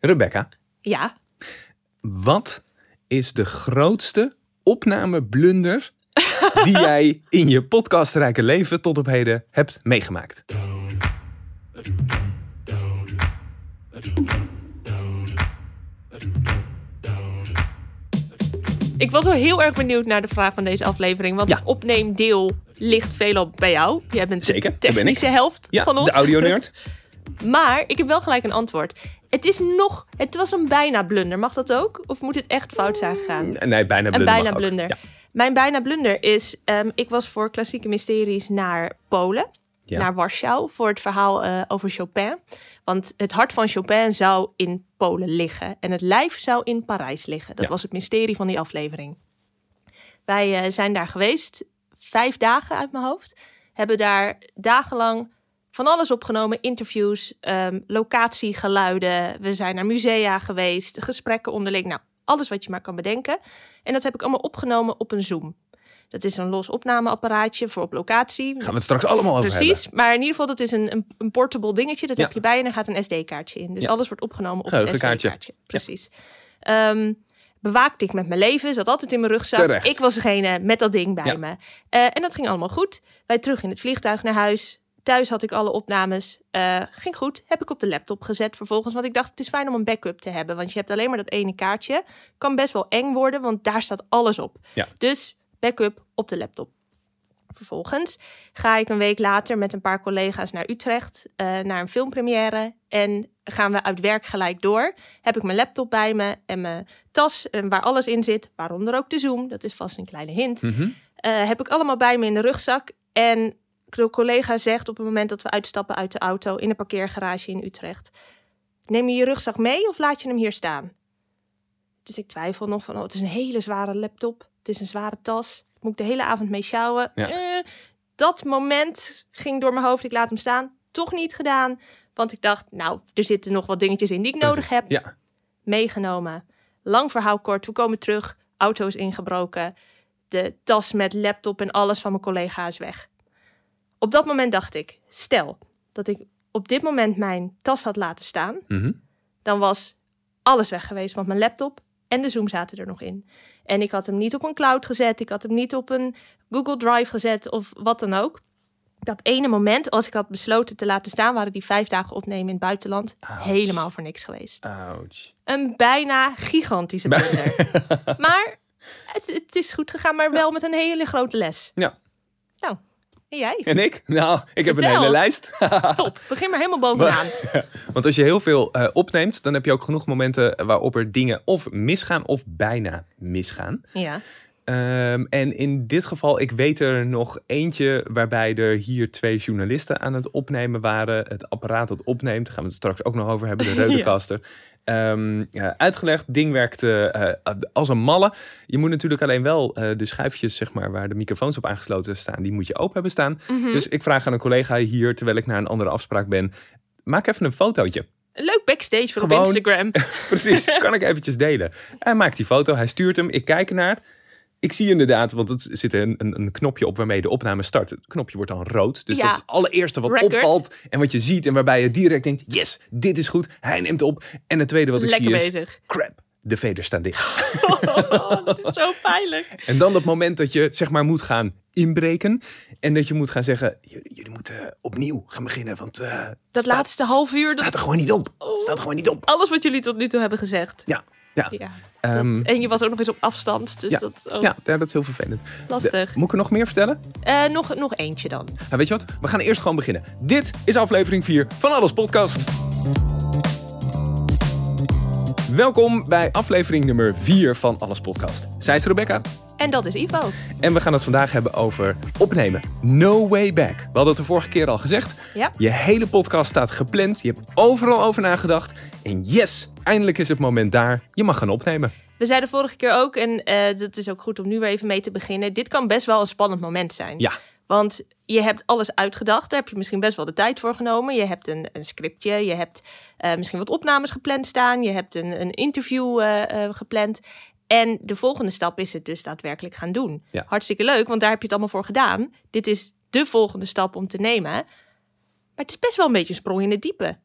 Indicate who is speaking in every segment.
Speaker 1: Rebecca,
Speaker 2: Ja.
Speaker 1: wat is de grootste opnameblunder die jij in je podcastrijke leven tot op heden hebt meegemaakt?
Speaker 2: Ik was wel heel erg benieuwd naar de vraag van deze aflevering. Want
Speaker 1: Ja.
Speaker 2: het opneemdeel ligt veelal bij jou. Jij bent
Speaker 1: Zeker,
Speaker 2: de
Speaker 1: dat ben
Speaker 2: technische helft
Speaker 1: Ja,
Speaker 2: van ons.
Speaker 1: de audioneurt.
Speaker 2: Maar ik heb wel gelijk een antwoord. Het is nog... Het was een bijna blunder. Mag dat ook? Of moet het echt fout zijn gegaan?
Speaker 1: Nee, bijna blunder.
Speaker 2: Een bijna
Speaker 1: mag ook.
Speaker 2: blunder.
Speaker 1: Ja.
Speaker 2: Mijn bijna blunder is, ehm, ik was voor klassieke mysteries naar Polen,
Speaker 1: Ja.
Speaker 2: naar Warschau, voor het verhaal eh, over Chopin. Want het hart van Chopin zou in Polen liggen en het lijf zou in Parijs liggen. Dat
Speaker 1: Ja.
Speaker 2: was het mysterie van die aflevering. Wij eh, zijn daar geweest, vijf dagen uit mijn hoofd, hebben daar dagenlang van alles opgenomen, interviews, ehm, locatiegeluiden. We zijn naar musea geweest, gesprekken onderling, nou alles wat je maar kan bedenken. En dat heb ik allemaal opgenomen op een Zoom. Dat is een los opnameapparaatje voor op locatie.
Speaker 1: Gaan we het straks allemaal over
Speaker 2: Precies, maar in ieder geval, dat is een, een, een portable dingetje. Dat
Speaker 1: Ja.
Speaker 2: heb je bij je en daar gaat een SD-kaartje in. Dus
Speaker 1: Ja.
Speaker 2: alles wordt opgenomen op een
Speaker 1: Geheugenkaartje.
Speaker 2: SD-kaartje. Precies. Ehm, bewaakte ik met mijn leven, zat altijd in mijn rugzak.
Speaker 1: Terecht.
Speaker 2: Ik was degene met dat ding bij
Speaker 1: Ja.
Speaker 2: me. Eh, en dat ging allemaal goed. Wij terug in het vliegtuig naar huis. Thuis had ik alle opnames. Eh, ging goed. Heb ik op de laptop gezet vervolgens. Want ik dacht, het is fijn om een backup te hebben. Want je hebt alleen maar dat ene kaartje. Kan best wel eng worden, want daar staat alles op.
Speaker 1: Ja.
Speaker 2: Dus backup op de laptop. Vervolgens ga ik een week later met een paar collega's naar Utrecht, eh, naar een filmpremière. En gaan we uit werk gelijk door. Heb ik mijn laptop bij me en mijn tas, en waar alles in zit, waaronder ook de Zoom. Dat is vast een kleine hint.
Speaker 1: hebben. Mhm.
Speaker 2: Eh, heb ik allemaal bij me in de rugzak. En de collega zegt op het moment dat we uitstappen uit de auto in een parkeergarage in Utrecht: Neem je je rugzak mee of laat je hem hier staan? Dus ik twijfel nog van: oh, het is een hele zware laptop. Het is een zware tas. Moet ik de hele avond mee sjouwen?
Speaker 1: Ja.
Speaker 2: Eh, dat moment ging door mijn hoofd. Ik laat hem staan. Toch niet gedaan. Want ik dacht, nou, er zitten nog wat dingetjes in die ik nodig
Speaker 1: Precies.
Speaker 2: heb
Speaker 1: Ja,
Speaker 2: meegenomen. Lang verhaal kort, we komen terug. Auto is ingebroken. De tas met laptop en alles van mijn collega is weg. Op dat moment dacht ik, stel dat ik op dit moment mijn tas had laten staan,
Speaker 1: Mhm.
Speaker 2: dan was alles weg geweest, want mijn laptop en de Zoom zaten er nog in. En ik had hem niet op een cloud gezet, ik had hem niet op een Google Drive gezet of wat dan ook. Dat ene moment, als ik had besloten te laten staan, waren die vijf dagen opnemen in het buitenland
Speaker 1: Ouch.
Speaker 2: helemaal voor niks geweest
Speaker 1: ouch.
Speaker 2: een bijna gigantische blunder. maar het, het is goed gegaan, maar wel met een hele grote les.
Speaker 1: Ja.
Speaker 2: Nou, en jij?
Speaker 1: En ik? Nou, ik heb een
Speaker 2: Vertel.
Speaker 1: hele lijst.
Speaker 2: Top, begin maar helemaal bovenaan.
Speaker 1: Want als je heel veel eh, opneemt, dan heb je ook genoeg momenten waarop er dingen of misgaan of bijna misgaan.
Speaker 2: Ja.
Speaker 1: Ehm, en in dit geval, ik weet er nog eentje waarbij er hier twee journalisten aan het opnemen waren. Het apparaat dat opneemt, daar gaan we het straks ook nog over hebben, de
Speaker 2: Ja.
Speaker 1: Rodecaster. Ehm, ja, uitgelegd, ding werkte eh, als een malle. Je moet natuurlijk alleen wel eh, de schuifjes zeg maar, waar de microfoons op aangesloten staan, die moet je open hebben staan.
Speaker 2: Mhm.
Speaker 1: Dus ik vraag aan een collega hier, terwijl ik naar een andere afspraak ben, maak even een fotootje.
Speaker 2: Een Leuk backstage voor
Speaker 1: Gewoon.
Speaker 2: op Instagram.
Speaker 1: Precies, kan ik eventjes delen. Hij maakt die foto, hij stuurt hem, ik kijk ernaar. Ik zie inderdaad, want het zit een, een, een knopje op waarmee de opname start. Het knopje wordt dan rood, dus
Speaker 2: Ja.
Speaker 1: dat is het allereerste wat
Speaker 2: Record.
Speaker 1: opvalt. En wat je ziet en waarbij je direct denkt, yes, dit is goed. Hij neemt op. En het tweede wat ik
Speaker 2: Lekker
Speaker 1: zie is,
Speaker 2: bezig.
Speaker 1: crap, de veders staan dicht.
Speaker 2: dat is zo pijnlijk.
Speaker 1: En dan dat moment dat je zeg maar moet gaan inbreken. En dat je moet gaan zeggen, "J- jullie moeten opnieuw gaan beginnen. Want eh, het
Speaker 2: Dat
Speaker 1: staat-
Speaker 2: laatste half uur, dat-
Speaker 1: staat er gewoon niet op.
Speaker 2: Oh.
Speaker 1: Staat er gewoon niet op.
Speaker 2: Alles wat jullie tot nu toe hebben gezegd.
Speaker 1: Ja, ja.
Speaker 2: Ja,
Speaker 1: Ehm,
Speaker 2: en je was ook nog eens op afstand, dus
Speaker 1: ja,
Speaker 2: dat ook
Speaker 1: ja, ja, dat is heel vervelend.
Speaker 2: lastig.
Speaker 1: Moet ik er nog meer vertellen?
Speaker 2: Eh, nog, nog eentje dan.
Speaker 1: Nou, weet je wat? We gaan eerst gewoon beginnen. Dit is aflevering 4 van Alles Podcast. Welkom bij aflevering nummer 4 van Alles Podcast. Zij is Rebecca
Speaker 2: En dat is Ivo.
Speaker 1: en we gaan het vandaag hebben over opnemen. No way back. We hadden het de vorige keer al gezegd.
Speaker 2: Ja.
Speaker 1: Je hele podcast staat gepland. Je hebt overal over nagedacht. En yes, eindelijk is het moment daar. Je mag gaan opnemen.
Speaker 2: We zeiden vorige keer ook, en eh, dat is ook goed om nu weer even mee te beginnen. Dit kan best wel een spannend moment zijn.
Speaker 1: Ja.
Speaker 2: Want je hebt alles uitgedacht. Daar heb je misschien best wel de tijd voor genomen. Je hebt een, een scriptje. Je hebt eh, misschien wat opnames gepland staan. Je hebt een, een interview eh, eh, gepland. En de volgende stap is het dus daadwerkelijk gaan doen.
Speaker 1: Ja.
Speaker 2: Hartstikke leuk, want daar heb je het allemaal voor gedaan. Dit is de volgende stap om te nemen. Maar het is best wel een beetje een sprong in het diepe.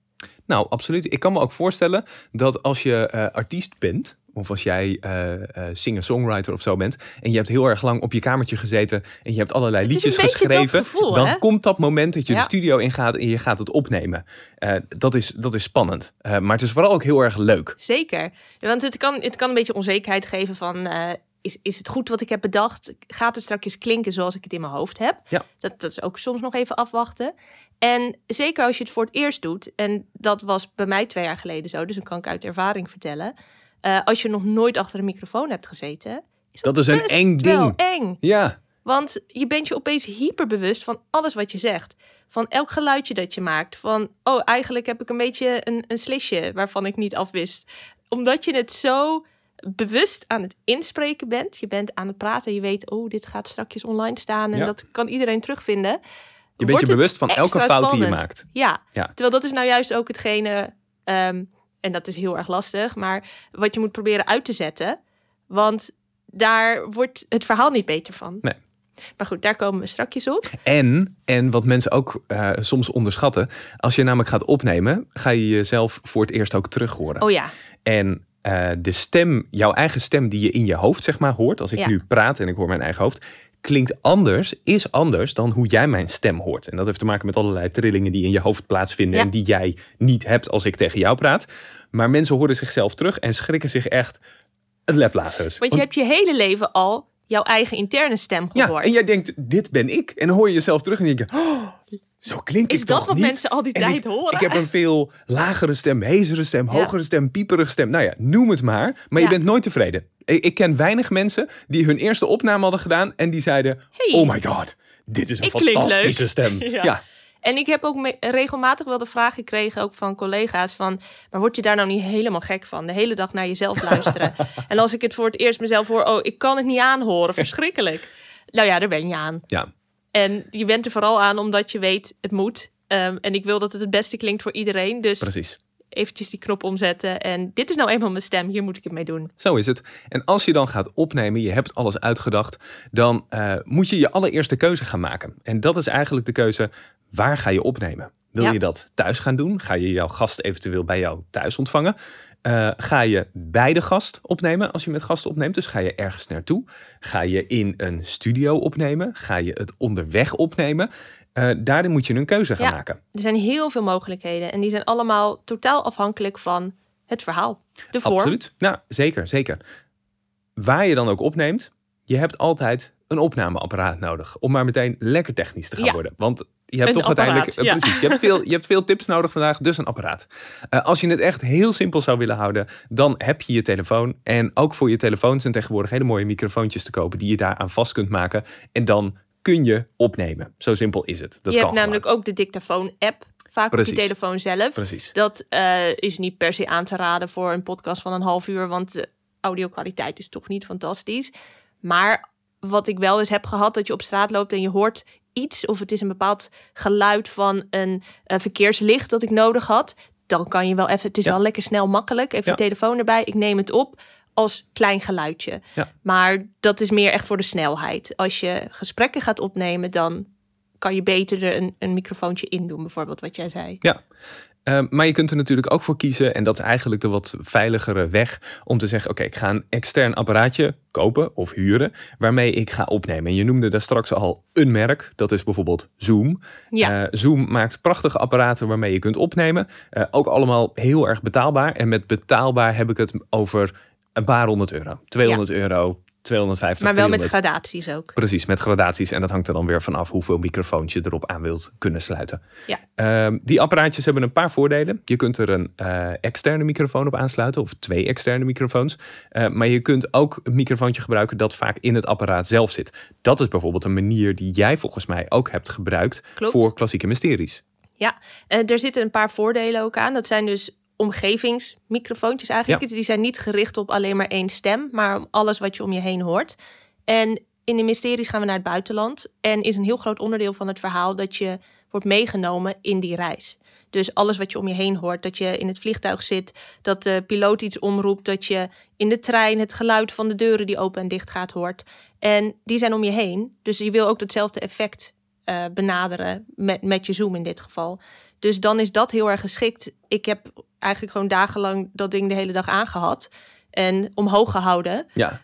Speaker 1: Nou, absoluut. Ik kan me ook voorstellen dat als je eh, artiest bent, of als jij eh, eh, singer-songwriter of zo bent, en je hebt heel erg lang op je kamertje gezeten en je hebt allerlei
Speaker 2: Het is
Speaker 1: liedjes
Speaker 2: een beetje dat
Speaker 1: geschreven,
Speaker 2: gevoel,
Speaker 1: dan
Speaker 2: hè?
Speaker 1: komt dat moment dat je
Speaker 2: Ja.
Speaker 1: de studio ingaat en je gaat het opnemen. Eh, dat, is, dat is spannend. Eh, maar het is vooral ook heel erg leuk.
Speaker 2: Zeker. Ja, Want het kan, het kan een beetje onzekerheid geven van... eh, is, is het goed wat ik heb bedacht? Gaat het strakjes klinken zoals ik het in mijn hoofd heb?
Speaker 1: Ja.
Speaker 2: Dat, dat is ook soms nog even afwachten. En zeker als je het voor het eerst doet... en dat was bij mij twee jaar geleden zo... dus dan kan ik uit ervaring vertellen... eh, als je nog nooit achter een microfoon hebt gezeten... Is
Speaker 1: Dat is een
Speaker 2: best
Speaker 1: eng
Speaker 2: wel
Speaker 1: ding.
Speaker 2: eng.
Speaker 1: Ja,
Speaker 2: Want je bent je opeens hyperbewust van alles wat je zegt. Van elk geluidje dat je maakt. Van, oh, eigenlijk heb ik een beetje een, een slisje waarvan ik niet afwist. Omdat je het zo bewust aan het inspreken bent. Je bent aan het praten. Je weet, oh, dit gaat straks online staan. En
Speaker 1: Ja.
Speaker 2: dat kan iedereen terugvinden.
Speaker 1: je bent
Speaker 2: Wordt
Speaker 1: je
Speaker 2: het
Speaker 1: bewust van elke
Speaker 2: extra
Speaker 1: fout die je
Speaker 2: spannend.
Speaker 1: maakt.
Speaker 2: Ja.
Speaker 1: Ja.
Speaker 2: terwijl dat is nou juist ook hetgene, ehm, en dat is heel erg lastig, maar wat je moet proberen uit te zetten, want daar wordt het verhaal niet beter van.
Speaker 1: Nee.
Speaker 2: Maar goed, daar komen we strakjes op.
Speaker 1: En, en wat mensen ook eh, soms onderschatten, als je namelijk gaat opnemen, ga je jezelf voor het eerst ook terug horen.
Speaker 2: Oh ja,
Speaker 1: En eh, de stem, jouw eigen stem die je in je hoofd zeg maar hoort, als ik
Speaker 2: Ja.
Speaker 1: nu praat en ik hoor mijn eigen hoofd, klinkt anders, is anders dan hoe jij mijn stem hoort. En dat heeft te maken met allerlei trillingen die in je hoofd plaatsvinden
Speaker 2: Ja.
Speaker 1: en die jij niet hebt als ik tegen jou praat. Maar mensen horen zichzelf terug en schrikken zich echt het leplazers.
Speaker 2: want je hebt je hele leven al jouw eigen interne stem
Speaker 1: ja,
Speaker 2: gehoord.
Speaker 1: en jij denkt, dit ben ik. En dan hoor je jezelf terug en denk je, oh, zo klink
Speaker 2: is
Speaker 1: ik
Speaker 2: dat
Speaker 1: toch
Speaker 2: wat
Speaker 1: niet?
Speaker 2: mensen al die
Speaker 1: En
Speaker 2: tijd
Speaker 1: ik,
Speaker 2: horen?
Speaker 1: Ik heb een veel lagere stem, hezere stem,
Speaker 2: Ja.
Speaker 1: hogere stem, pieperige stem. Nou ja, noem het maar. Maar je
Speaker 2: Ja.
Speaker 1: bent nooit tevreden. Ik, ik ken weinig mensen die hun eerste opname hadden gedaan en die zeiden:
Speaker 2: Hey.
Speaker 1: Oh my god, dit is een
Speaker 2: Ik klink
Speaker 1: fantastische
Speaker 2: leuk."
Speaker 1: stem.
Speaker 2: Ja.
Speaker 1: ja,
Speaker 2: En ik heb ook me- regelmatig wel de vraag gekregen, ook van collega's, van... maar word je daar nou niet helemaal gek van? De hele dag naar jezelf luisteren. en als ik het voor het eerst mezelf hoor, oh, ik kan het niet aanhoren, verschrikkelijk. nou ja, daar ben je aan.
Speaker 1: ja.
Speaker 2: En je bent er vooral aan omdat je weet, het moet. Ehm, en ik wil dat het het beste klinkt voor iedereen. Dus
Speaker 1: precies.
Speaker 2: eventjes die knop omzetten. En dit is nou eenmaal mijn stem, hier moet ik het mee doen.
Speaker 1: Zo is het. En als je dan gaat opnemen, je hebt alles uitgedacht, dan eh, moet je je allereerste keuze gaan maken. En dat is eigenlijk de keuze, waar ga je opnemen? Wil
Speaker 2: Ja.
Speaker 1: je dat thuis gaan doen? Ga je jouw gast eventueel bij jou thuis ontvangen? Eh, ga je bij de gast opnemen als je met gasten opneemt? Dus ga je ergens naartoe? Ga je in een studio opnemen? Ga je het onderweg opnemen? Eh, daarin moet je een keuze gaan
Speaker 2: Ja.
Speaker 1: maken.
Speaker 2: Er zijn heel veel mogelijkheden. En die zijn allemaal totaal afhankelijk van het verhaal. De vorm.
Speaker 1: Absoluut. Nou, zeker, zeker. Waar je dan ook opneemt, je hebt altijd een opnameapparaat nodig. Om maar meteen lekker technisch te gaan
Speaker 2: Ja.
Speaker 1: worden. Want je hebt
Speaker 2: Een
Speaker 1: toch uiteindelijk.
Speaker 2: apparaat,
Speaker 1: eh,
Speaker 2: ja.
Speaker 1: Precies, je hebt, veel, je hebt veel tips nodig vandaag, dus een apparaat. Eh, als je het echt heel simpel zou willen houden, dan heb je je telefoon. En ook voor je telefoon zijn tegenwoordig hele mooie microfoontjes te kopen die je daaraan vast kunt maken. En dan kun je opnemen. Zo simpel is het. Dat
Speaker 2: je
Speaker 1: kan
Speaker 2: hebt namelijk ook de dictafoon-app, vaak op
Speaker 1: Precies.
Speaker 2: je telefoon zelf.
Speaker 1: gewoon. Precies.
Speaker 2: Dat eh, is niet per se aan te raden voor een podcast van een half uur, want de audio-kwaliteit is toch niet fantastisch. Maar wat ik wel eens heb gehad, dat je op straat loopt en je hoort iets, of het is een bepaald geluid van een eh, verkeerslicht dat ik nodig had, dan kan je wel even, het is
Speaker 1: Ja.
Speaker 2: wel lekker snel makkelijk, even
Speaker 1: Ja.
Speaker 2: je telefoon erbij, ik neem het op als klein geluidje.
Speaker 1: Ja.
Speaker 2: Maar dat is meer echt voor de snelheid. Als je gesprekken gaat opnemen, dan kan je beter er een, een microfoontje in doen, bijvoorbeeld wat jij zei.
Speaker 1: Ja. Eh, maar je kunt er natuurlijk ook voor kiezen, en dat is eigenlijk de wat veiligere weg, om te zeggen: Oké, ik ga een extern apparaatje kopen of huren waarmee ik ga opnemen. En je noemde daar straks al een merk, dat is bijvoorbeeld Zoom.
Speaker 2: Ja.
Speaker 1: Eh, Zoom maakt prachtige apparaten waarmee je kunt opnemen. Eh, ook allemaal heel erg betaalbaar. En met betaalbaar heb ik het over een paar honderd euro, 200 euro, 250
Speaker 2: Maar wel met
Speaker 1: 300.
Speaker 2: gradaties ook.
Speaker 1: Precies, met gradaties. En dat hangt er dan weer vanaf hoeveel microfoons je erop aan wilt kunnen sluiten.
Speaker 2: Ja.
Speaker 1: Ehm, die apparaatjes hebben een paar voordelen. Je kunt er een eh, externe microfoon op aansluiten, of twee externe microfoons. Eh, maar je kunt ook een microfoontje gebruiken dat vaak in het apparaat zelf zit. Dat is bijvoorbeeld een manier die jij volgens mij ook hebt gebruikt
Speaker 2: Klopt.
Speaker 1: voor klassieke mysteries.
Speaker 2: Eh, er zitten een paar voordelen ook aan. Dat zijn dus omgevingsmicrofoontjes eigenlijk. Die zijn niet gericht op alleen maar één stem, maar om alles wat je om je heen hoort. En in de mysteries gaan we naar het buitenland. En is een heel groot onderdeel van het verhaal dat je wordt meegenomen in die reis. Dus alles wat je om je heen hoort, dat je in het vliegtuig zit, dat de piloot iets omroept, dat je in de trein het geluid van de deuren die open en dicht gaat hoort. En die zijn om je heen. Dus je wil ook datzelfde effect eh, benaderen met, met je Zoom in dit geval. Dus dan is dat heel erg geschikt. Ik heb eigenlijk gewoon dagenlang dat ding de hele dag aangehad. En omhoog gehouden.
Speaker 1: Ja,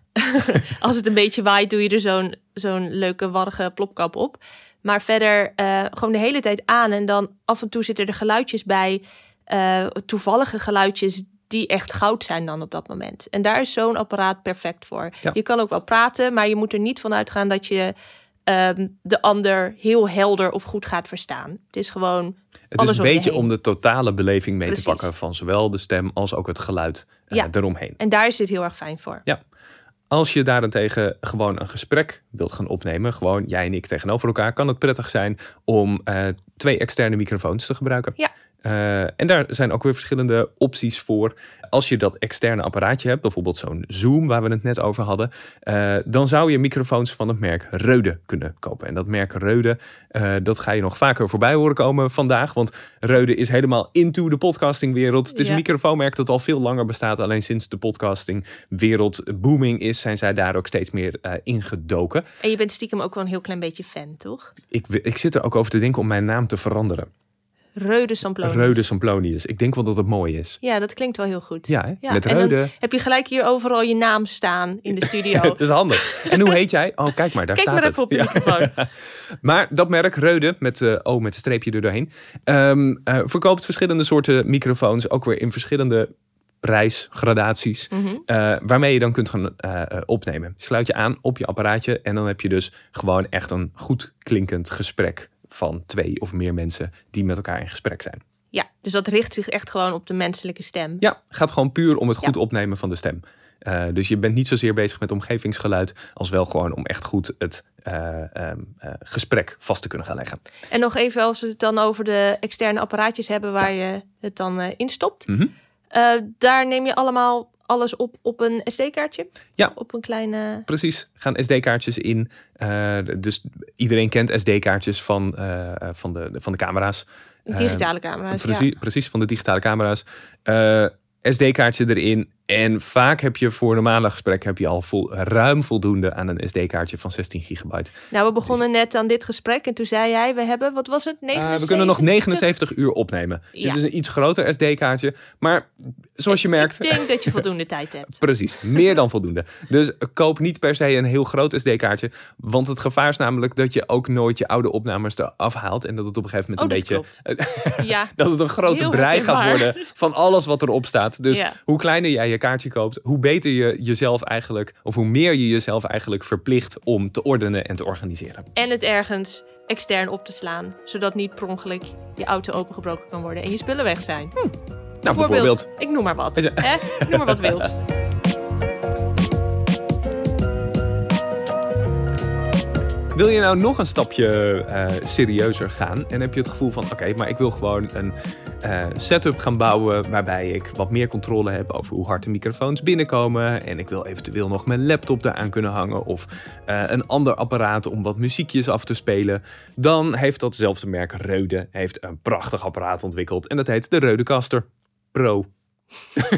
Speaker 2: Als het een beetje waait, doe je er zo'n zo'n leuke warrige plopkap op. Maar verder eh, gewoon de hele tijd aan. En dan af en toe zitten er geluidjes bij. eh, toevallige geluidjes die echt goud zijn dan op dat moment. En daar is zo'n apparaat perfect voor.
Speaker 1: Ja.
Speaker 2: Je kan ook wel praten, maar je moet er niet van uitgaan dat je ehm, de ander heel helder of goed gaat verstaan. Het is gewoon
Speaker 1: het
Speaker 2: Alles
Speaker 1: is een
Speaker 2: om je
Speaker 1: beetje
Speaker 2: heen.
Speaker 1: om de totale beleving mee
Speaker 2: Precies.
Speaker 1: te pakken van zowel de stem als ook het geluid eh,
Speaker 2: Ja.
Speaker 1: eromheen.
Speaker 2: En daar is dit heel erg fijn voor.
Speaker 1: Als je daarentegen gewoon een gesprek wilt gaan opnemen, gewoon jij en ik tegenover elkaar, kan het prettig zijn om eh, twee externe microfoons te gebruiken.
Speaker 2: Ja.
Speaker 1: Eh, en daar zijn ook weer verschillende opties voor. Als je dat externe apparaatje hebt, bijvoorbeeld zo'n Zoom waar we het net over hadden, eh, dan zou je microfoons van het merk Reude kunnen kopen. En dat merk Reude, eh, dat ga je nog vaker voorbij horen komen vandaag, want Reude is helemaal into de podcastingwereld. Het is
Speaker 2: Ja.
Speaker 1: een microfoonmerk dat al veel langer bestaat, alleen sinds de podcastingwereld booming is, zijn zij daar ook steeds meer eh, ingedoken.
Speaker 2: En je bent stiekem ook wel een heel klein beetje fan, toch?
Speaker 1: Ik, wi- ik zit er ook over te denken om mijn naam te veranderen.
Speaker 2: Reude Samplonius.
Speaker 1: Reude Samplonius. Ik denk wel dat het mooi is.
Speaker 2: Ja, dat klinkt wel heel goed.
Speaker 1: Ja, hè?
Speaker 2: Ja,
Speaker 1: met
Speaker 2: en dan-
Speaker 1: Reude.
Speaker 2: Heb je gelijk hier overal je naam staan in de studio?
Speaker 1: Dat is handig. En hoe heet jij? Oh, kijk maar, daar
Speaker 2: Kijk
Speaker 1: staat
Speaker 2: maar
Speaker 1: het.
Speaker 2: even op de
Speaker 1: Ja.
Speaker 2: microfoon.
Speaker 1: Maar dat merk, Reude, met eh O met een streepje er doorheen, ehm, eh, verkoopt verschillende soorten microfoons. Ook weer in verschillende prijsgradaties.
Speaker 2: Mhm.
Speaker 1: eh, waarmee je dan kunt gaan eh, eh, opnemen. Sluit je aan op je apparaatje en dan heb je dus gewoon echt een goed klinkend gesprek van twee of meer mensen die met elkaar in gesprek zijn.
Speaker 2: Ja, dus dat richt zich echt gewoon op de menselijke stem.
Speaker 1: Ja, gaat gewoon puur om het
Speaker 2: Ja.
Speaker 1: goed opnemen van de stem. Eh, dus je bent niet zozeer bezig met omgevingsgeluid, als wel gewoon om echt goed het eh, ehm, eh, gesprek vast te kunnen gaan leggen.
Speaker 2: En nog even als we het dan over de externe apparaatjes hebben waar je het dan eh, in stopt.
Speaker 1: Mhm.
Speaker 2: Eh, daar neem je allemaal alles op op een SD-kaartje.
Speaker 1: Ja.
Speaker 2: Op een kleine.
Speaker 1: Precies, gaan SD-kaartjes in. Eh, dus iedereen kent SD-kaartjes van, eh, eh, van, de, van de camera's. Eh,
Speaker 2: digitale camera. dus
Speaker 1: Precies, precies, van de digitale camera's. Eh, SD-kaartje erin. En vaak heb je voor normale gesprek heb je al vol, ruim voldoende aan een SD-kaartje van 16 gigabyte.
Speaker 2: Nou, we begonnen net aan dit gesprek en toen zei jij, we hebben, wat was het?
Speaker 1: Eh,
Speaker 2: 79?
Speaker 1: we kunnen nog 79 uur opnemen.
Speaker 2: Ja.
Speaker 1: Dit is een iets groter SD-kaartje. Maar zoals je merkt,
Speaker 2: Ik denk dat je voldoende tijd hebt.
Speaker 1: Precies, meer dan voldoende. Dus koop niet per se een heel groot SD-kaartje. Want het gevaar is namelijk dat je ook nooit je oude opnames eraf haalt. En dat het op een gegeven
Speaker 2: Oh,
Speaker 1: moment
Speaker 2: dat
Speaker 1: een beetje.
Speaker 2: Ja,
Speaker 1: Dat het een grote
Speaker 2: Heel
Speaker 1: brei gaat
Speaker 2: herkenbaar.
Speaker 1: worden van alles wat erop staat. Dus
Speaker 2: Ja.
Speaker 1: hoe kleiner jij je kaartje koopt, hoe beter je jezelf eigenlijk. of hoe meer je jezelf eigenlijk verplicht om te ordenen en te organiseren.
Speaker 2: en het ergens extern op te slaan, zodat niet per ongeluk je auto opengebroken kan worden en je spullen weg zijn.
Speaker 1: Nou, bijvoorbeeld.
Speaker 2: Ik noem maar wat.
Speaker 1: Ja.
Speaker 2: Hè? Ik noem maar wat wild.
Speaker 1: Wil je nou nog een stapje eh, serieuzer gaan en heb je het gevoel van oké, maar ik wil gewoon een eh, setup gaan bouwen waarbij ik wat meer controle heb over hoe hard de microfoons binnenkomen en ik wil eventueel nog mijn laptop eraan kunnen hangen of eh, een ander apparaat om wat muziekjes af te spelen, dan heeft datzelfde merk Reude heeft een prachtig apparaat ontwikkeld en dat heet de Reudecaster Pro.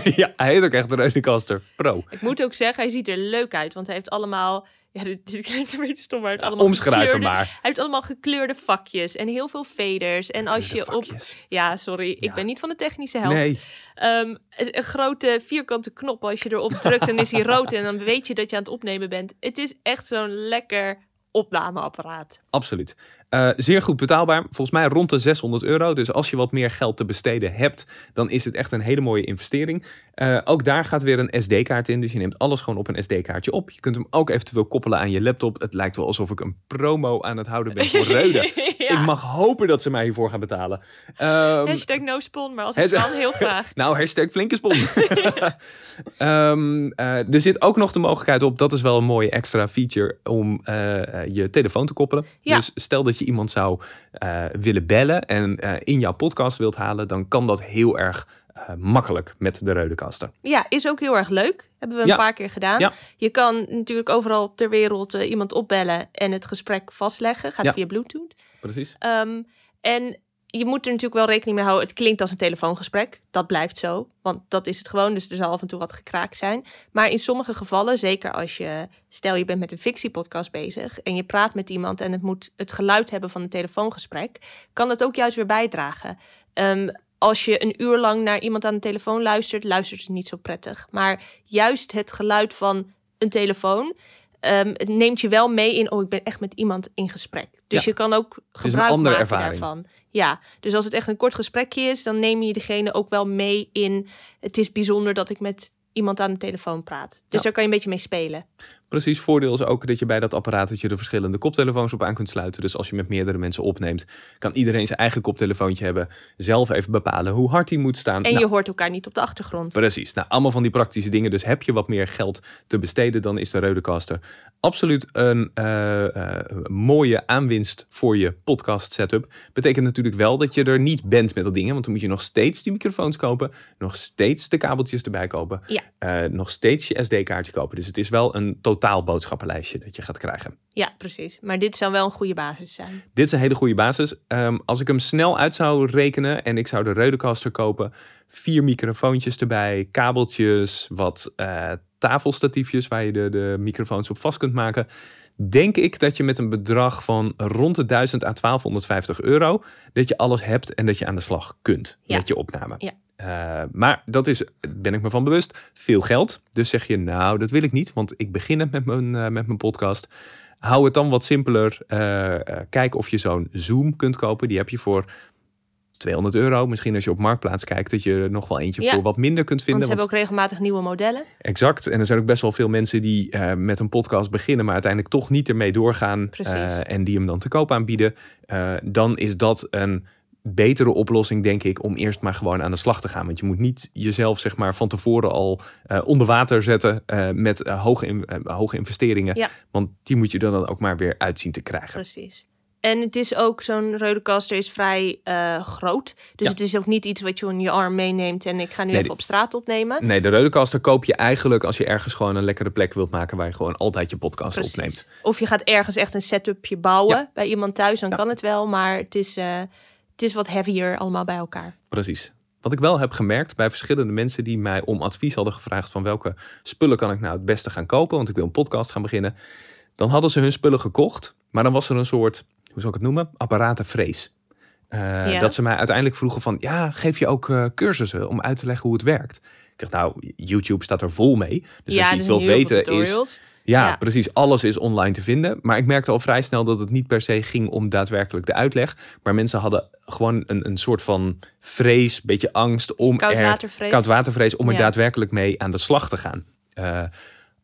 Speaker 1: ja, hij heet ook echt de Reudecaster Pro.
Speaker 2: Ik moet ook zeggen, hij ziet er leuk uit, want hij heeft allemaal... Ja, dit, dit klinkt een beetje stom, maar hij heeft allemaal
Speaker 1: Omschrijf hem
Speaker 2: gekleurde-
Speaker 1: maar.
Speaker 2: Hij heeft allemaal gekleurde vakjes en heel veel faders. En als je op...
Speaker 1: Vakjes.
Speaker 2: Ja, sorry, ik
Speaker 1: Ja.
Speaker 2: ben niet van de technische helft.
Speaker 1: Nee,
Speaker 2: Ehm, een, een grote vierkante knop. Als je erop drukt, dan is hij rood. En dan weet je dat je aan het opnemen bent. Het is echt zo'n lekker opnameapparaat.
Speaker 1: Absoluut. Eh, zeer goed betaalbaar. Volgens mij rond de 600 euro. Dus als je wat meer geld te besteden hebt, dan is het echt een hele mooie investering. Eh, ook daar gaat weer een SD-kaart in. Dus je neemt alles gewoon op een SD-kaartje op. Je kunt hem ook eventueel koppelen aan je laptop. Het lijkt wel alsof ik een promo aan het houden ben voor Reude.
Speaker 2: ja.
Speaker 1: Ik mag hopen dat ze mij hiervoor gaan betalen. Ehm,
Speaker 2: Hashtag no spawn, maar als het
Speaker 1: Hashtag-
Speaker 2: kan, heel graag.
Speaker 1: nou, hashtag flinke spon. Ehm, eh, er zit ook nog de mogelijkheid op, dat is wel een mooie extra feature, om eh, eh, je telefoon te koppelen.
Speaker 2: Ja.
Speaker 1: Dus stel dat je iemand zou eh, willen bellen en eh, in jouw podcast wilt halen, dan kan dat heel erg eh, makkelijk met de Reudecaster.
Speaker 2: Ja, is ook heel erg leuk. Hebben we een
Speaker 1: Ja.
Speaker 2: paar keer gedaan.
Speaker 1: Ja.
Speaker 2: Je kan natuurlijk overal ter wereld eh, iemand opbellen en het gesprek vastleggen. Gaat
Speaker 1: Ja.
Speaker 2: via Bluetooth.
Speaker 1: Precies.
Speaker 2: Ehm, en je moet er natuurlijk wel rekening mee houden. Het klinkt als een telefoongesprek. Dat blijft zo. Want dat is het gewoon. Dus er zal af en toe wat gekraakt zijn. Maar in sommige gevallen, zeker als je. Stel je bent met een fictiepodcast bezig. en je praat met iemand. en het moet het geluid hebben van een telefoongesprek. kan dat ook juist weer bijdragen. Ehm, als je een uur lang naar iemand aan de telefoon luistert. luistert het niet zo prettig. Maar juist het geluid van een telefoon. ehm, het neemt je wel mee in. oh, ik ben echt met iemand in gesprek. Dus
Speaker 1: Ja.
Speaker 2: je kan ook
Speaker 1: is een
Speaker 2: gebruik
Speaker 1: andere
Speaker 2: maken
Speaker 1: ervaring.
Speaker 2: daarvan. Ja, dus als het echt een kort gesprekje is, dan neem je degene ook wel mee in. Het is bijzonder dat ik met iemand aan de telefoon praat. Dus
Speaker 1: Ja.
Speaker 2: daar kan je een beetje mee spelen.
Speaker 1: Precies, voordeel is ook dat je bij dat apparaat dat je de verschillende koptelefoons op aan kunt sluiten. Dus als je met meerdere mensen opneemt, kan iedereen zijn eigen koptelefoontje hebben. Zelf even bepalen hoe hard die moet staan.
Speaker 2: En
Speaker 1: Nou,
Speaker 2: je hoort elkaar niet op de achtergrond.
Speaker 1: Precies. Nou, allemaal van die praktische dingen. Dus heb je wat meer geld te besteden, dan is de Rodecaster absoluut een eh, eh, mooie aanwinst voor je podcast setup. Betekent natuurlijk wel dat je er niet bent met dat dingen, want dan moet je nog steeds die microfoons kopen, nog steeds de kabeltjes erbij kopen,
Speaker 2: Ja.
Speaker 1: eh, nog steeds je SD-kaartje kopen. Dus het is wel een totaal boodschappenlijstje dat je gaat krijgen.
Speaker 2: Ja, precies. Maar dit zou wel een goede basis zijn.
Speaker 1: Dit is een hele goede basis. Ehm, als ik hem snel uit zou rekenen en ik zou de Rodecaster kopen, vier microfoontjes erbij, kabeltjes, wat eh, tafelstatiefjes waar je de, de microfoons op vast kunt maken, denk ik dat je met een bedrag van rond de 1000 à 1250 euro, dat je alles hebt en dat je aan de slag kunt
Speaker 2: Ja.
Speaker 1: met je opname.
Speaker 2: Ja.
Speaker 1: Eh, maar dat is, ben ik me van bewust, veel geld. Dus zeg je, nou, dat wil ik niet, want ik begin net met mijn, eh, met mijn podcast. Hou het dan wat simpeler. Eh, eh, kijk of je zo'n Zoom kunt kopen. Die heb je voor 200 euro. Misschien als je op Marktplaats kijkt, dat je er nog wel eentje
Speaker 2: Ja.
Speaker 1: voor wat minder kunt
Speaker 2: Want
Speaker 1: vinden.
Speaker 2: ze hebben ook regelmatig nieuwe modellen.
Speaker 1: Exact. En er zijn ook best wel veel mensen die eh, met een podcast beginnen, maar uiteindelijk toch niet ermee doorgaan.
Speaker 2: Precies.
Speaker 1: eh, en die hem dan te koop aanbieden. Eh, dan is dat een betere oplossing, denk ik, om eerst maar gewoon aan de slag te gaan. Want je moet niet jezelf, zeg maar, van tevoren al eh, onder water zetten eh, met eh, hoge, in- eh, hoge investeringen.
Speaker 2: Ja.
Speaker 1: Want die moet je er dan ook maar weer uitzien te krijgen.
Speaker 2: Precies. En het is ook, zo'n Rodecaster is vrij eh, groot. Dus
Speaker 1: Ja.
Speaker 2: het is ook niet iets wat je in je arm meeneemt. En ik ga nu
Speaker 1: Nee,
Speaker 2: even
Speaker 1: die-
Speaker 2: op straat opnemen.
Speaker 1: Nee, de Rodecaster koop je eigenlijk als je ergens gewoon een lekkere plek wilt maken waar je gewoon altijd je podcast
Speaker 2: Precies.
Speaker 1: opneemt.
Speaker 2: Of je gaat ergens echt een setupje bouwen bij iemand thuis, dan
Speaker 1: Ja.
Speaker 2: kan het wel. Maar het is, eh, het is wat heavier allemaal bij elkaar.
Speaker 1: Precies. Wat ik wel heb gemerkt bij verschillende mensen die mij om advies hadden gevraagd van welke spullen kan ik nou het beste gaan kopen, want ik wil een podcast gaan beginnen. Dan hadden ze hun spullen gekocht, maar dan was er een soort, hoe zal ik het noemen, apparatenvrees. Eh,
Speaker 2: Ja.
Speaker 1: Dat ze mij uiteindelijk vroegen van, ja, geef je ook eh, cursussen om uit te leggen hoe het werkt? Ik zeg, nou, YouTube staat er vol mee. Dus als je
Speaker 2: er
Speaker 1: iets wilt
Speaker 2: zijn heel veel
Speaker 1: weten is,
Speaker 2: tutorials.
Speaker 1: ja,
Speaker 2: Ja.
Speaker 1: precies. Alles is online te vinden. Maar ik merkte al vrij snel dat het niet per se ging om daadwerkelijk de uitleg. Maar mensen hadden gewoon een, een soort van vrees, beetje angst
Speaker 2: Dus
Speaker 1: om er
Speaker 2: Koudwatervrees.
Speaker 1: koudwatervrees, om er
Speaker 2: Ja.
Speaker 1: daadwerkelijk mee aan de slag te gaan. Eh,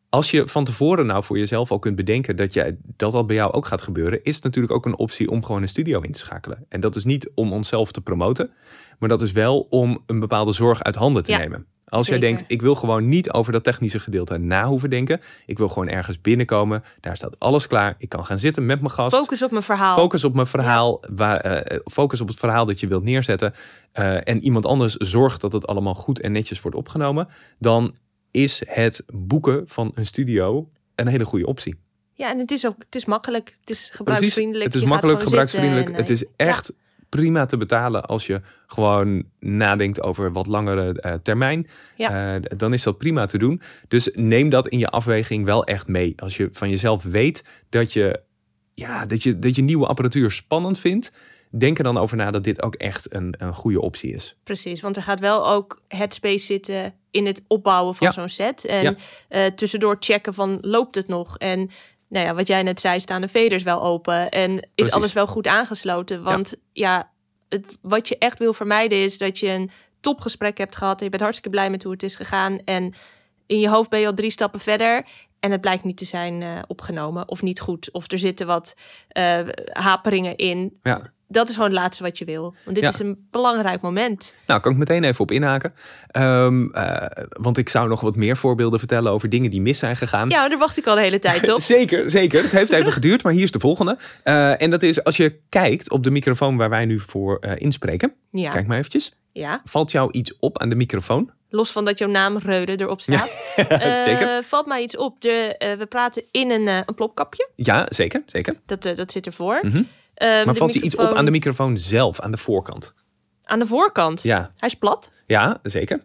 Speaker 1: als je van tevoren nou voor jezelf al kunt bedenken dat jij, dat al bij jou ook gaat gebeuren, is het natuurlijk ook een optie om gewoon een studio in te schakelen. En dat is niet om onszelf te promoten, maar dat is wel om een bepaalde zorg uit handen te
Speaker 2: Ja,
Speaker 1: nemen. Als jij
Speaker 2: zeker.
Speaker 1: denkt, ik wil gewoon niet over dat technische gedeelte na hoeven denken. Ik wil gewoon ergens binnenkomen. Daar staat alles klaar. Ik kan gaan zitten met mijn gast.
Speaker 2: Focus op mijn verhaal.
Speaker 1: Focus op mijn verhaal. Waar, eh, focus op het verhaal dat je wilt neerzetten. eh, en iemand anders zorgt dat het allemaal goed en netjes wordt opgenomen. Dan is het boeken van een studio een hele goede optie.
Speaker 2: Ja, en het is ook het is makkelijk. Het is gebruiksvriendelijk.
Speaker 1: Het is
Speaker 2: Je gaat
Speaker 1: makkelijk,
Speaker 2: gewoon zitten
Speaker 1: gebruiksvriendelijk.
Speaker 2: en,
Speaker 1: het
Speaker 2: eh,
Speaker 1: is echt prima te betalen als je gewoon nadenkt over wat langere eh, termijn.
Speaker 2: Ja.
Speaker 1: Eh, d- dan is dat prima te doen. Dus neem dat in je afweging wel echt mee. Als je van jezelf weet dat je, ja, dat je, dat je nieuwe apparatuur spannend vindt. Denk er dan over na dat dit ook echt een, een goede optie is.
Speaker 2: Precies, want er gaat wel ook headspace zitten in het opbouwen van
Speaker 1: Ja.
Speaker 2: zo'n set. En
Speaker 1: Ja.
Speaker 2: eh, tussendoor checken van loopt het nog? En nou ja, wat jij net zei, staan de veders wel open? En is
Speaker 1: Precies.
Speaker 2: alles wel goed aangesloten? Want ja, het, wat je echt wil vermijden is dat je een topgesprek hebt gehad. En je bent hartstikke blij met hoe het is gegaan. En in je hoofd ben je al drie stappen verder. En het blijkt niet te zijn eh, opgenomen of niet goed. Of er zitten wat eh, haperingen in.
Speaker 1: Ja.
Speaker 2: Dat is gewoon het laatste wat je wil. Want dit
Speaker 1: Ja.
Speaker 2: is een belangrijk moment.
Speaker 1: Nou, kan ik meteen even op inhaken. Ehm, eh, want ik zou nog wat meer voorbeelden vertellen over dingen die mis zijn gegaan.
Speaker 2: Ja, daar wacht ik al de hele tijd op.
Speaker 1: Zeker, zeker. Het heeft even geduurd, maar hier is de volgende. Eh, en dat is als je kijkt op de microfoon waar wij nu voor eh, inspreken.
Speaker 2: Ja,
Speaker 1: Kijk maar eventjes.
Speaker 2: ja.
Speaker 1: Valt jou iets op aan de microfoon?
Speaker 2: Los van dat jouw naam Reude erop staat. eh,
Speaker 1: zeker.
Speaker 2: Valt mij iets op. De, eh, we praten in een, eh, een plopkapje.
Speaker 1: Ja, zeker, zeker.
Speaker 2: Dat, eh, dat zit ervoor.
Speaker 1: Mhm.
Speaker 2: Ehm,
Speaker 1: Maar
Speaker 2: de
Speaker 1: valt hij iets op
Speaker 2: microfoon-
Speaker 1: aan de microfoon zelf, aan de voorkant?
Speaker 2: aan de voorkant?
Speaker 1: Ja,
Speaker 2: Hij is plat.
Speaker 1: ja zeker.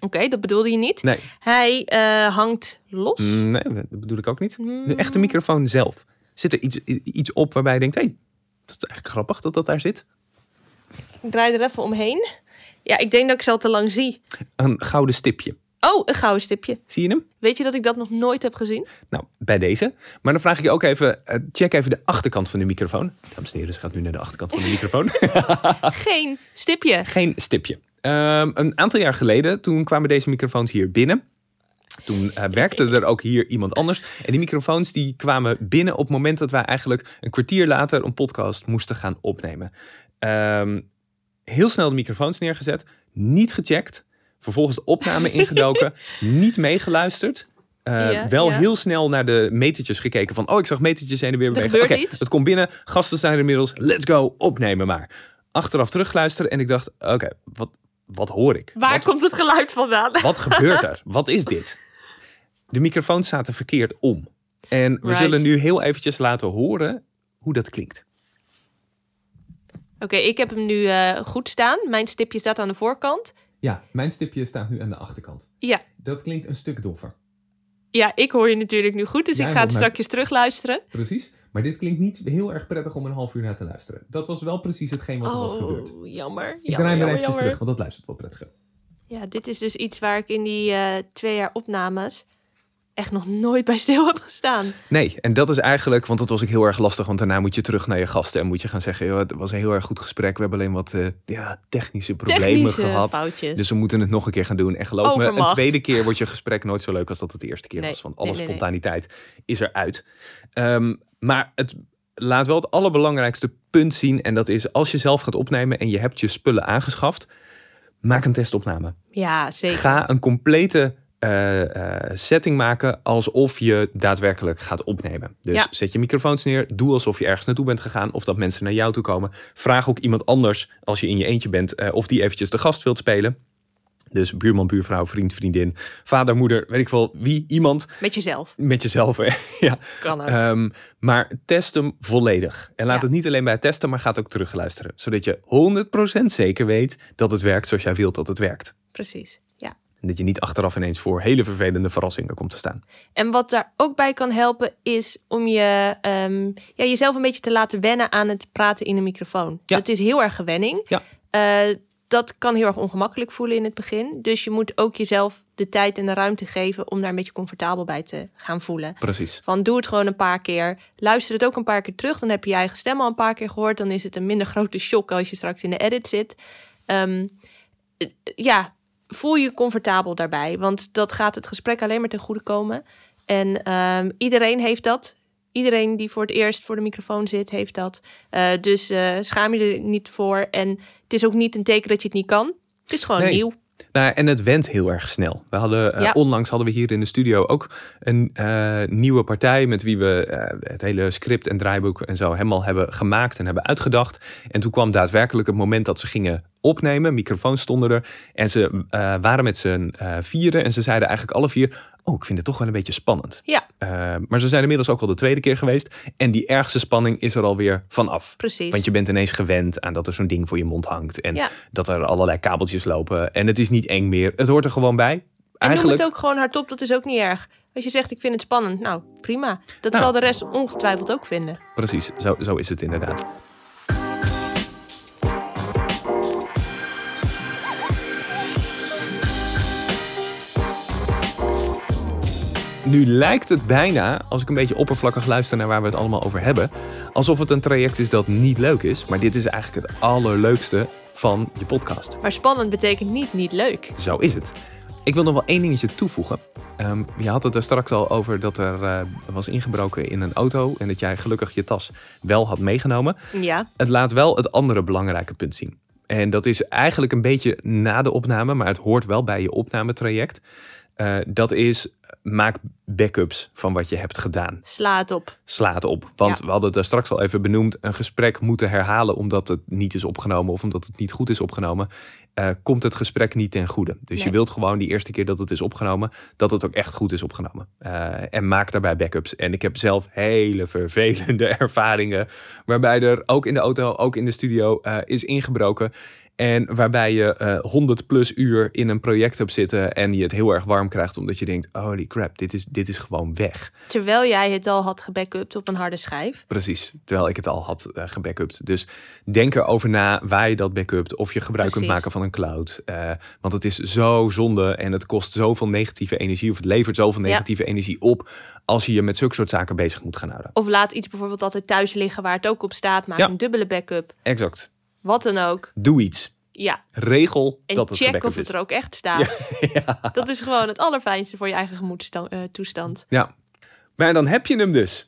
Speaker 2: Oké, dat bedoelde je niet.
Speaker 1: Nee,
Speaker 2: Hij eh, hangt los.
Speaker 1: Mm, nee, dat bedoel ik ook niet. De
Speaker 2: Mm.
Speaker 1: echte microfoon zelf. Zit er iets, i- iets op waarbij je denkt, hé, hey, dat is eigenlijk grappig dat dat daar zit?
Speaker 2: Ik draai er even omheen. Ja, ik denk dat ik ze al te lang zie.
Speaker 1: Een gouden stipje.
Speaker 2: Oh, een gouden stipje.
Speaker 1: Zie je hem?
Speaker 2: Weet je dat ik dat nog nooit heb gezien?
Speaker 1: Nou, bij deze. Maar dan vraag ik je ook even, eh, check even de achterkant van de microfoon. Dames en heren, ze gaat nu naar de achterkant van de microfoon.
Speaker 2: Geen stipje.
Speaker 1: Geen stipje. Ehm, een aantal jaar geleden, toen kwamen deze microfoons hier binnen. Toen eh, werkte er ook hier iemand anders. En die microfoons die kwamen binnen op het moment dat wij eigenlijk een kwartier later een podcast moesten gaan opnemen. Ehm, heel snel de microfoons neergezet, niet gecheckt. Vervolgens de opname ingedoken, niet meegeluisterd. Eh,
Speaker 2: Ja,
Speaker 1: wel
Speaker 2: ja.
Speaker 1: heel snel naar de metertjes gekeken van, oh ik zag metertjes heen en weer bewegen. Oké,
Speaker 2: gebeurt iets.
Speaker 1: dat komt binnen, gasten zijn er inmiddels, let's go, opnemen maar achteraf terugluisteren en ik dacht, oké, wat, wat hoor ik?
Speaker 2: Waar
Speaker 1: wat,
Speaker 2: komt het geluid vandaan?
Speaker 1: wat gebeurt er? Wat is dit? De microfoons zaten verkeerd om. En we
Speaker 2: Right.
Speaker 1: zullen nu heel eventjes laten horen hoe dat klinkt.
Speaker 2: Oké, ik heb hem nu eh, goed staan. Mijn stipje staat aan de voorkant.
Speaker 1: Ja, mijn stipje staat nu aan de achterkant.
Speaker 2: Ja.
Speaker 1: Dat klinkt een stuk doffer.
Speaker 2: Ja, ik hoor je natuurlijk nu goed, dus
Speaker 1: Jij
Speaker 2: ik ga het
Speaker 1: hoort mij-
Speaker 2: strakjes terugluisteren.
Speaker 1: Precies. Maar dit klinkt niet heel erg prettig om een half uur naar te luisteren. Dat was wel precies hetgeen wat
Speaker 2: Oh, jammer. jammer, jammer, jammer.
Speaker 1: want dat luistert wel prettiger.
Speaker 2: Ja, dit is dus iets waar ik in die eh, twee jaar opnames echt nog nooit bij stil heb gestaan.
Speaker 1: Nee, en dat is eigenlijk, want dat was ook heel erg lastig. Want daarna moet je terug naar je gasten en moet je gaan zeggen: joh, het was een heel erg goed gesprek. We hebben alleen wat eh, ja, technische problemen
Speaker 2: Technische
Speaker 1: gehad.
Speaker 2: foutjes.
Speaker 1: Dus we moeten het nog een keer gaan doen. En geloof me, een
Speaker 2: Overmacht.
Speaker 1: tweede keer wordt je gesprek nooit zo leuk als dat het de eerste keer
Speaker 2: Nee,
Speaker 1: was. Want
Speaker 2: nee,
Speaker 1: alle
Speaker 2: nee, nee.
Speaker 1: spontaniteit is eruit. Ehm, maar het laat wel het allerbelangrijkste punt zien. En dat is als je zelf gaat opnemen en je hebt je spullen aangeschaft, maak een testopname.
Speaker 2: Ja, zeker.
Speaker 1: Ga een complete eh, eh, setting maken alsof je daadwerkelijk gaat opnemen. Dus
Speaker 2: Ja.
Speaker 1: zet je microfoons neer, doe alsof je ergens naartoe bent gegaan of dat mensen naar jou toe komen. Vraag ook iemand anders als je in je eentje bent eh, of die eventjes de gast wilt spelen. Dus buurman, buurvrouw, vriend, vriendin, vader, moeder, weet ik wel wie, iemand
Speaker 2: Met jezelf.
Speaker 1: met jezelf. hè. ja.
Speaker 2: Kan ook.
Speaker 1: Ehm, maar test hem volledig. En laat
Speaker 2: Ja.
Speaker 1: het niet alleen bij het testen, maar ga het ook terugluisteren. Zodat je 100% zeker weet dat het werkt zoals jij wilt dat het werkt.
Speaker 2: Precies. Ja.
Speaker 1: En dat je niet achteraf ineens voor hele vervelende verrassingen komt te staan.
Speaker 2: En wat daar ook bij kan helpen is om je, ehm, ja, jezelf een beetje te laten wennen aan het praten in een microfoon.
Speaker 1: Ja.
Speaker 2: Dat is heel erg gewenning.
Speaker 1: Ja.
Speaker 2: Eh, dat kan heel erg ongemakkelijk voelen in het begin. Dus je moet ook jezelf de tijd en de ruimte geven om daar een beetje comfortabel bij te gaan voelen.
Speaker 1: Precies.
Speaker 2: Van doe het gewoon een paar keer. Luister het ook een paar keer terug. Dan heb je je eigen stem al een paar keer gehoord. Dan is het een minder grote shock als je straks in de edit zit. Ehm, eh, ja, voel je comfortabel daarbij. Want dat gaat het gesprek alleen maar ten goede komen. En ehm, iedereen heeft dat. Iedereen die voor het eerst voor de microfoon zit, heeft dat. Eh, dus eh, schaam je er niet voor. En het is ook niet een teken dat je het niet kan. Het is gewoon
Speaker 1: Nee.
Speaker 2: nieuw.
Speaker 1: Nou, en het went heel erg snel. We hadden, eh,
Speaker 2: Ja.
Speaker 1: Onlangs hadden we hier in de studio ook een eh, nieuwe partij met wie we eh, het hele script en draaiboek en zo helemaal hebben gemaakt en hebben uitgedacht. En toen kwam daadwerkelijk het moment dat ze gingen opnemen. Microfoons stonden er. En ze eh, waren met z'n eh vieren. En ze zeiden eigenlijk alle vier: Oh, ik vind het toch wel een beetje spannend.
Speaker 2: Ja,
Speaker 1: Eh, maar ze zijn inmiddels ook al de tweede keer geweest. En die ergste spanning is er alweer vanaf.
Speaker 2: precies.
Speaker 1: Want je bent ineens gewend aan dat er zo'n ding voor je mond hangt. En
Speaker 2: Ja.
Speaker 1: dat er allerlei kabeltjes lopen. En het is niet eng meer. Het hoort er gewoon bij.
Speaker 2: En noem
Speaker 1: Eigenlijk,
Speaker 2: het ook gewoon hardop, dat is ook niet erg. Als je zegt, ik vind het spannend, nou prima. Dat
Speaker 1: Nou.
Speaker 2: zal de rest ongetwijfeld ook vinden.
Speaker 1: precies, zo, zo is het inderdaad. Nu lijkt het bijna, als ik een beetje oppervlakkig luister naar waar we het allemaal over hebben, alsof het een traject is dat niet leuk is. Maar dit is eigenlijk het allerleukste van je podcast.
Speaker 2: Maar spannend betekent niet niet leuk.
Speaker 1: Zo is het. Ik wil nog wel één dingetje toevoegen. Ehm, je had het er straks al over dat er eh, was ingebroken in een auto en dat jij gelukkig je tas wel had meegenomen.
Speaker 2: Ja,
Speaker 1: Het laat wel het andere belangrijke punt zien. En dat is eigenlijk een beetje na de opname, maar het hoort wel bij je opnametraject. Eh, dat is maak backups van wat je hebt gedaan
Speaker 2: sla het op.
Speaker 1: slaat op. Want
Speaker 2: Ja.
Speaker 1: we hadden het daar straks al even benoemd. Een gesprek moeten herhalen omdat het niet is opgenomen of omdat het niet goed is opgenomen. eh, komt het gesprek niet ten goede. Dus je
Speaker 2: Nee.
Speaker 1: wilt gewoon die eerste keer dat het is opgenomen, dat het ook echt goed is opgenomen. Eh, en maak daarbij backups. En ik heb zelf hele vervelende ervaringen, waarbij er ook in de auto, ook in de studio eh, is ingebroken. En waarbij je eh 100 plus uur in een project hebt zitten en je het heel erg warm krijgt, omdat je denkt: holy crap, dit is, dit is gewoon weg.
Speaker 2: Terwijl jij het al had gebackupt op een harde schijf.
Speaker 1: Precies, terwijl ik het al had eh, gebackupt. Dus denk erover na waar je dat backupt. Of je gebruik kunt
Speaker 2: Precies.
Speaker 1: maken van een cloud. Eh, want het is zo zonde en het kost zoveel negatieve energie. Of het levert zoveel
Speaker 2: Ja.
Speaker 1: negatieve energie op. Als je je met zulke soort zaken bezig moet gaan houden.
Speaker 2: Of laat iets bijvoorbeeld altijd thuis liggen waar het ook op staat. Maak
Speaker 1: Ja.
Speaker 2: een dubbele backup.
Speaker 1: Exact.
Speaker 2: Wat dan ook.
Speaker 1: Doe iets.
Speaker 2: Ja.
Speaker 1: Regel
Speaker 2: En
Speaker 1: dat het
Speaker 2: check
Speaker 1: gebackupt
Speaker 2: of het
Speaker 1: is.
Speaker 2: er ook echt staat. Dat is gewoon het allerfijnste voor je eigen eh, gemoedstoestand.
Speaker 1: Ja. Maar dan heb je hem dus.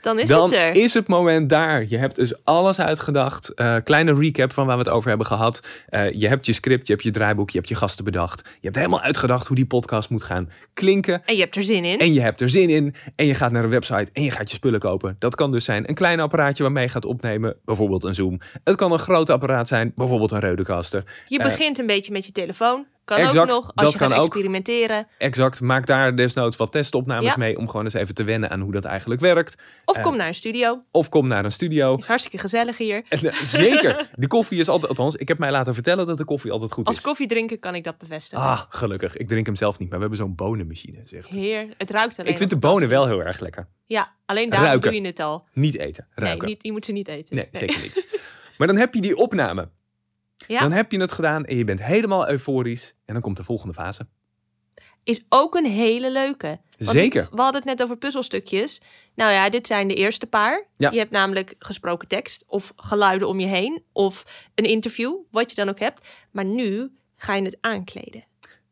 Speaker 2: Dan is
Speaker 1: dan
Speaker 2: het er.
Speaker 1: is het moment daar. Je hebt dus alles uitgedacht. Eh, kleine recap van waar we het over hebben gehad. Eh, je hebt je script, je hebt je draaiboek, je hebt je gasten bedacht. Je hebt helemaal uitgedacht hoe die podcast moet gaan klinken.
Speaker 2: En je hebt er zin in.
Speaker 1: En je hebt er zin in. En je gaat naar een website en je gaat je spullen kopen. Dat kan dus zijn een klein apparaatje waarmee je gaat opnemen. Bijvoorbeeld een Zoom. Het kan een groot apparaat zijn. Bijvoorbeeld een Rodecaster.
Speaker 2: Je
Speaker 1: Eh,
Speaker 2: begint een beetje met je telefoon. Kan
Speaker 1: exact,
Speaker 2: ook nog
Speaker 1: dat
Speaker 2: als je gaat
Speaker 1: kan ook.
Speaker 2: experimenteren.
Speaker 1: Exact. Maak daar desnoods wat testopnames
Speaker 2: Ja.
Speaker 1: mee. Om gewoon eens even te wennen aan hoe dat eigenlijk werkt.
Speaker 2: Of
Speaker 1: Eh,
Speaker 2: kom naar een studio.
Speaker 1: Of kom naar een studio.
Speaker 2: Is hartstikke gezellig hier.
Speaker 1: En, eh, zeker. De koffie is altijd, althans, ik heb mij laten vertellen dat de koffie altijd goed
Speaker 2: Als
Speaker 1: is.
Speaker 2: koffiedrinker kan ik dat bevestigen.
Speaker 1: Ah, gelukkig. Ik drink hem zelf niet, maar we hebben zo'n bonenmachine. Zegt.
Speaker 2: Heer, het ruikt alleen.
Speaker 1: Ik vind de
Speaker 2: nog
Speaker 1: bonen wel
Speaker 2: fantastisch.
Speaker 1: heel erg lekker.
Speaker 2: Ja, alleen daarom
Speaker 1: Ruiken.
Speaker 2: doe je het al.
Speaker 1: Niet eten, ruiken.
Speaker 2: Nee, niet, je moet ze niet eten.
Speaker 1: nee, zeker niet. Maar dan heb je die opname.
Speaker 2: Ja.
Speaker 1: Dan heb je het gedaan en je bent helemaal euforisch. En dan komt de volgende fase.
Speaker 2: Is ook een hele leuke. Want
Speaker 1: Zeker.
Speaker 2: ik- we hadden het net over puzzelstukjes. Nou ja, dit zijn de eerste paar.
Speaker 1: Ja.
Speaker 2: Je hebt namelijk gesproken tekst of geluiden om je heen of een interview, wat je dan ook hebt. Maar nu ga je het aankleden.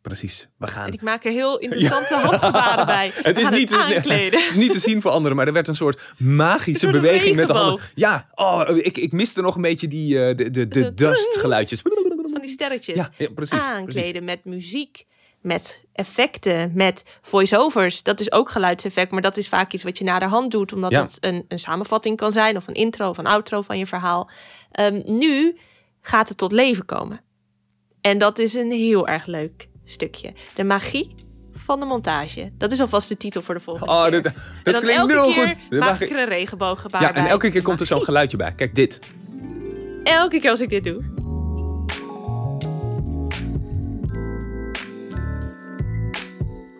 Speaker 1: Precies. We gaan.
Speaker 2: En ik maak er heel interessante handgebaren bij. We
Speaker 1: Het is,
Speaker 2: gaan
Speaker 1: niet,
Speaker 2: aankleden.
Speaker 1: het is niet te zien voor anderen, maar er werd een soort magische
Speaker 2: Een soort
Speaker 1: beweging met de handen.
Speaker 2: regenboog.
Speaker 1: Ja, oh, ik, ik miste nog een beetje die eh, de, de, de
Speaker 2: Zo-
Speaker 1: dust geluidjes.
Speaker 2: Van die sterretjes.
Speaker 1: Ja, ja, precies.
Speaker 2: aankleden
Speaker 1: precies.
Speaker 2: met muziek, met effecten, met voiceovers. Dat is ook geluidseffect, maar dat is vaak iets wat je naderhand doet, omdat
Speaker 1: Ja.
Speaker 2: dat een, een samenvatting kan zijn of een intro of een outro van je verhaal. Ehm, nu gaat het tot leven komen. En dat is een heel erg leuk stukje. De magie van de montage. Dat is alvast de titel voor de volgende
Speaker 1: Oh,
Speaker 2: keer.
Speaker 1: dat,
Speaker 2: En
Speaker 1: dat
Speaker 2: dan
Speaker 1: klinkt
Speaker 2: elke
Speaker 1: heel
Speaker 2: keer
Speaker 1: goed. Dat
Speaker 2: maak
Speaker 1: mag
Speaker 2: ik
Speaker 1: ik-
Speaker 2: er een regenbooggebaar
Speaker 1: Ja, en
Speaker 2: bij.
Speaker 1: elke keer komt er zo'n geluidje bij. Kijk, dit.
Speaker 2: Elke keer als ik dit doe.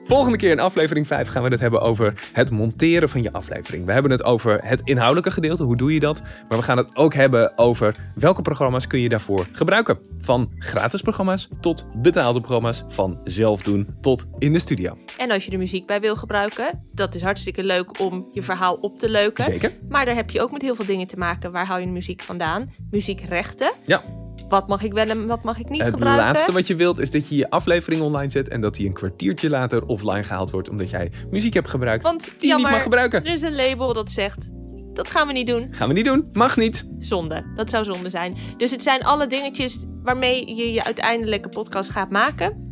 Speaker 1: Volgende keer in aflevering 5 gaan we het hebben over het monteren van je aflevering. We hebben het over het inhoudelijke gedeelte, hoe doe je dat? Maar we gaan het ook hebben over welke programma's kun je daarvoor gebruiken. Van gratis programma's tot betaalde programma's, van zelf doen tot in de studio.
Speaker 2: En als je er muziek bij wil gebruiken, dat is hartstikke leuk om je verhaal op te leuken.
Speaker 1: Zeker?
Speaker 2: Maar daar heb je ook met heel veel dingen te maken. Waar hou je de muziek vandaan? Muziekrechten.
Speaker 1: Ja.
Speaker 2: Wat mag ik wel en wat mag ik niet
Speaker 1: Het
Speaker 2: gebruiken?
Speaker 1: laatste wat je wilt is dat je je aflevering online zet en dat die een kwartiertje later offline gehaald wordt omdat jij muziek hebt gebruikt
Speaker 2: Want
Speaker 1: die je niet
Speaker 2: jammer,
Speaker 1: mag gebruiken.
Speaker 2: er is een label dat zegt, dat gaan we niet doen.
Speaker 1: Gaan we niet doen, mag niet.
Speaker 2: Zonde, dat zou zonde zijn. Dus het zijn alle dingetjes waarmee je je uiteindelijke podcast gaat maken.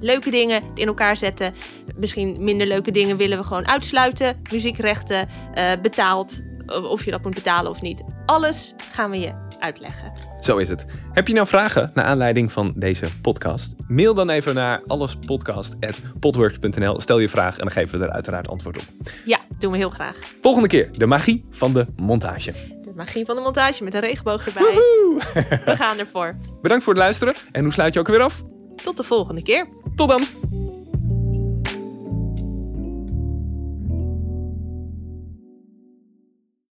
Speaker 2: Leuke dingen in elkaar zetten. Misschien minder leuke dingen willen we gewoon uitsluiten. Muziekrechten, eh, betaald, eh, of je dat moet betalen of niet. Alles gaan we je uitleggen.
Speaker 1: Zo is het. Heb je nou vragen naar aanleiding van deze podcast? Mail dan even naar allespodcast.potworks.nl. Stel je vraag en dan geven we er uiteraard antwoord op.
Speaker 2: Ja, doen we heel graag.
Speaker 1: Volgende keer de magie van de montage.
Speaker 2: De magie van de montage met een regenboog erbij. We gaan ervoor.
Speaker 1: Bedankt voor het luisteren en hoe sluit je ook weer af?
Speaker 2: Tot de volgende keer.
Speaker 1: Tot dan!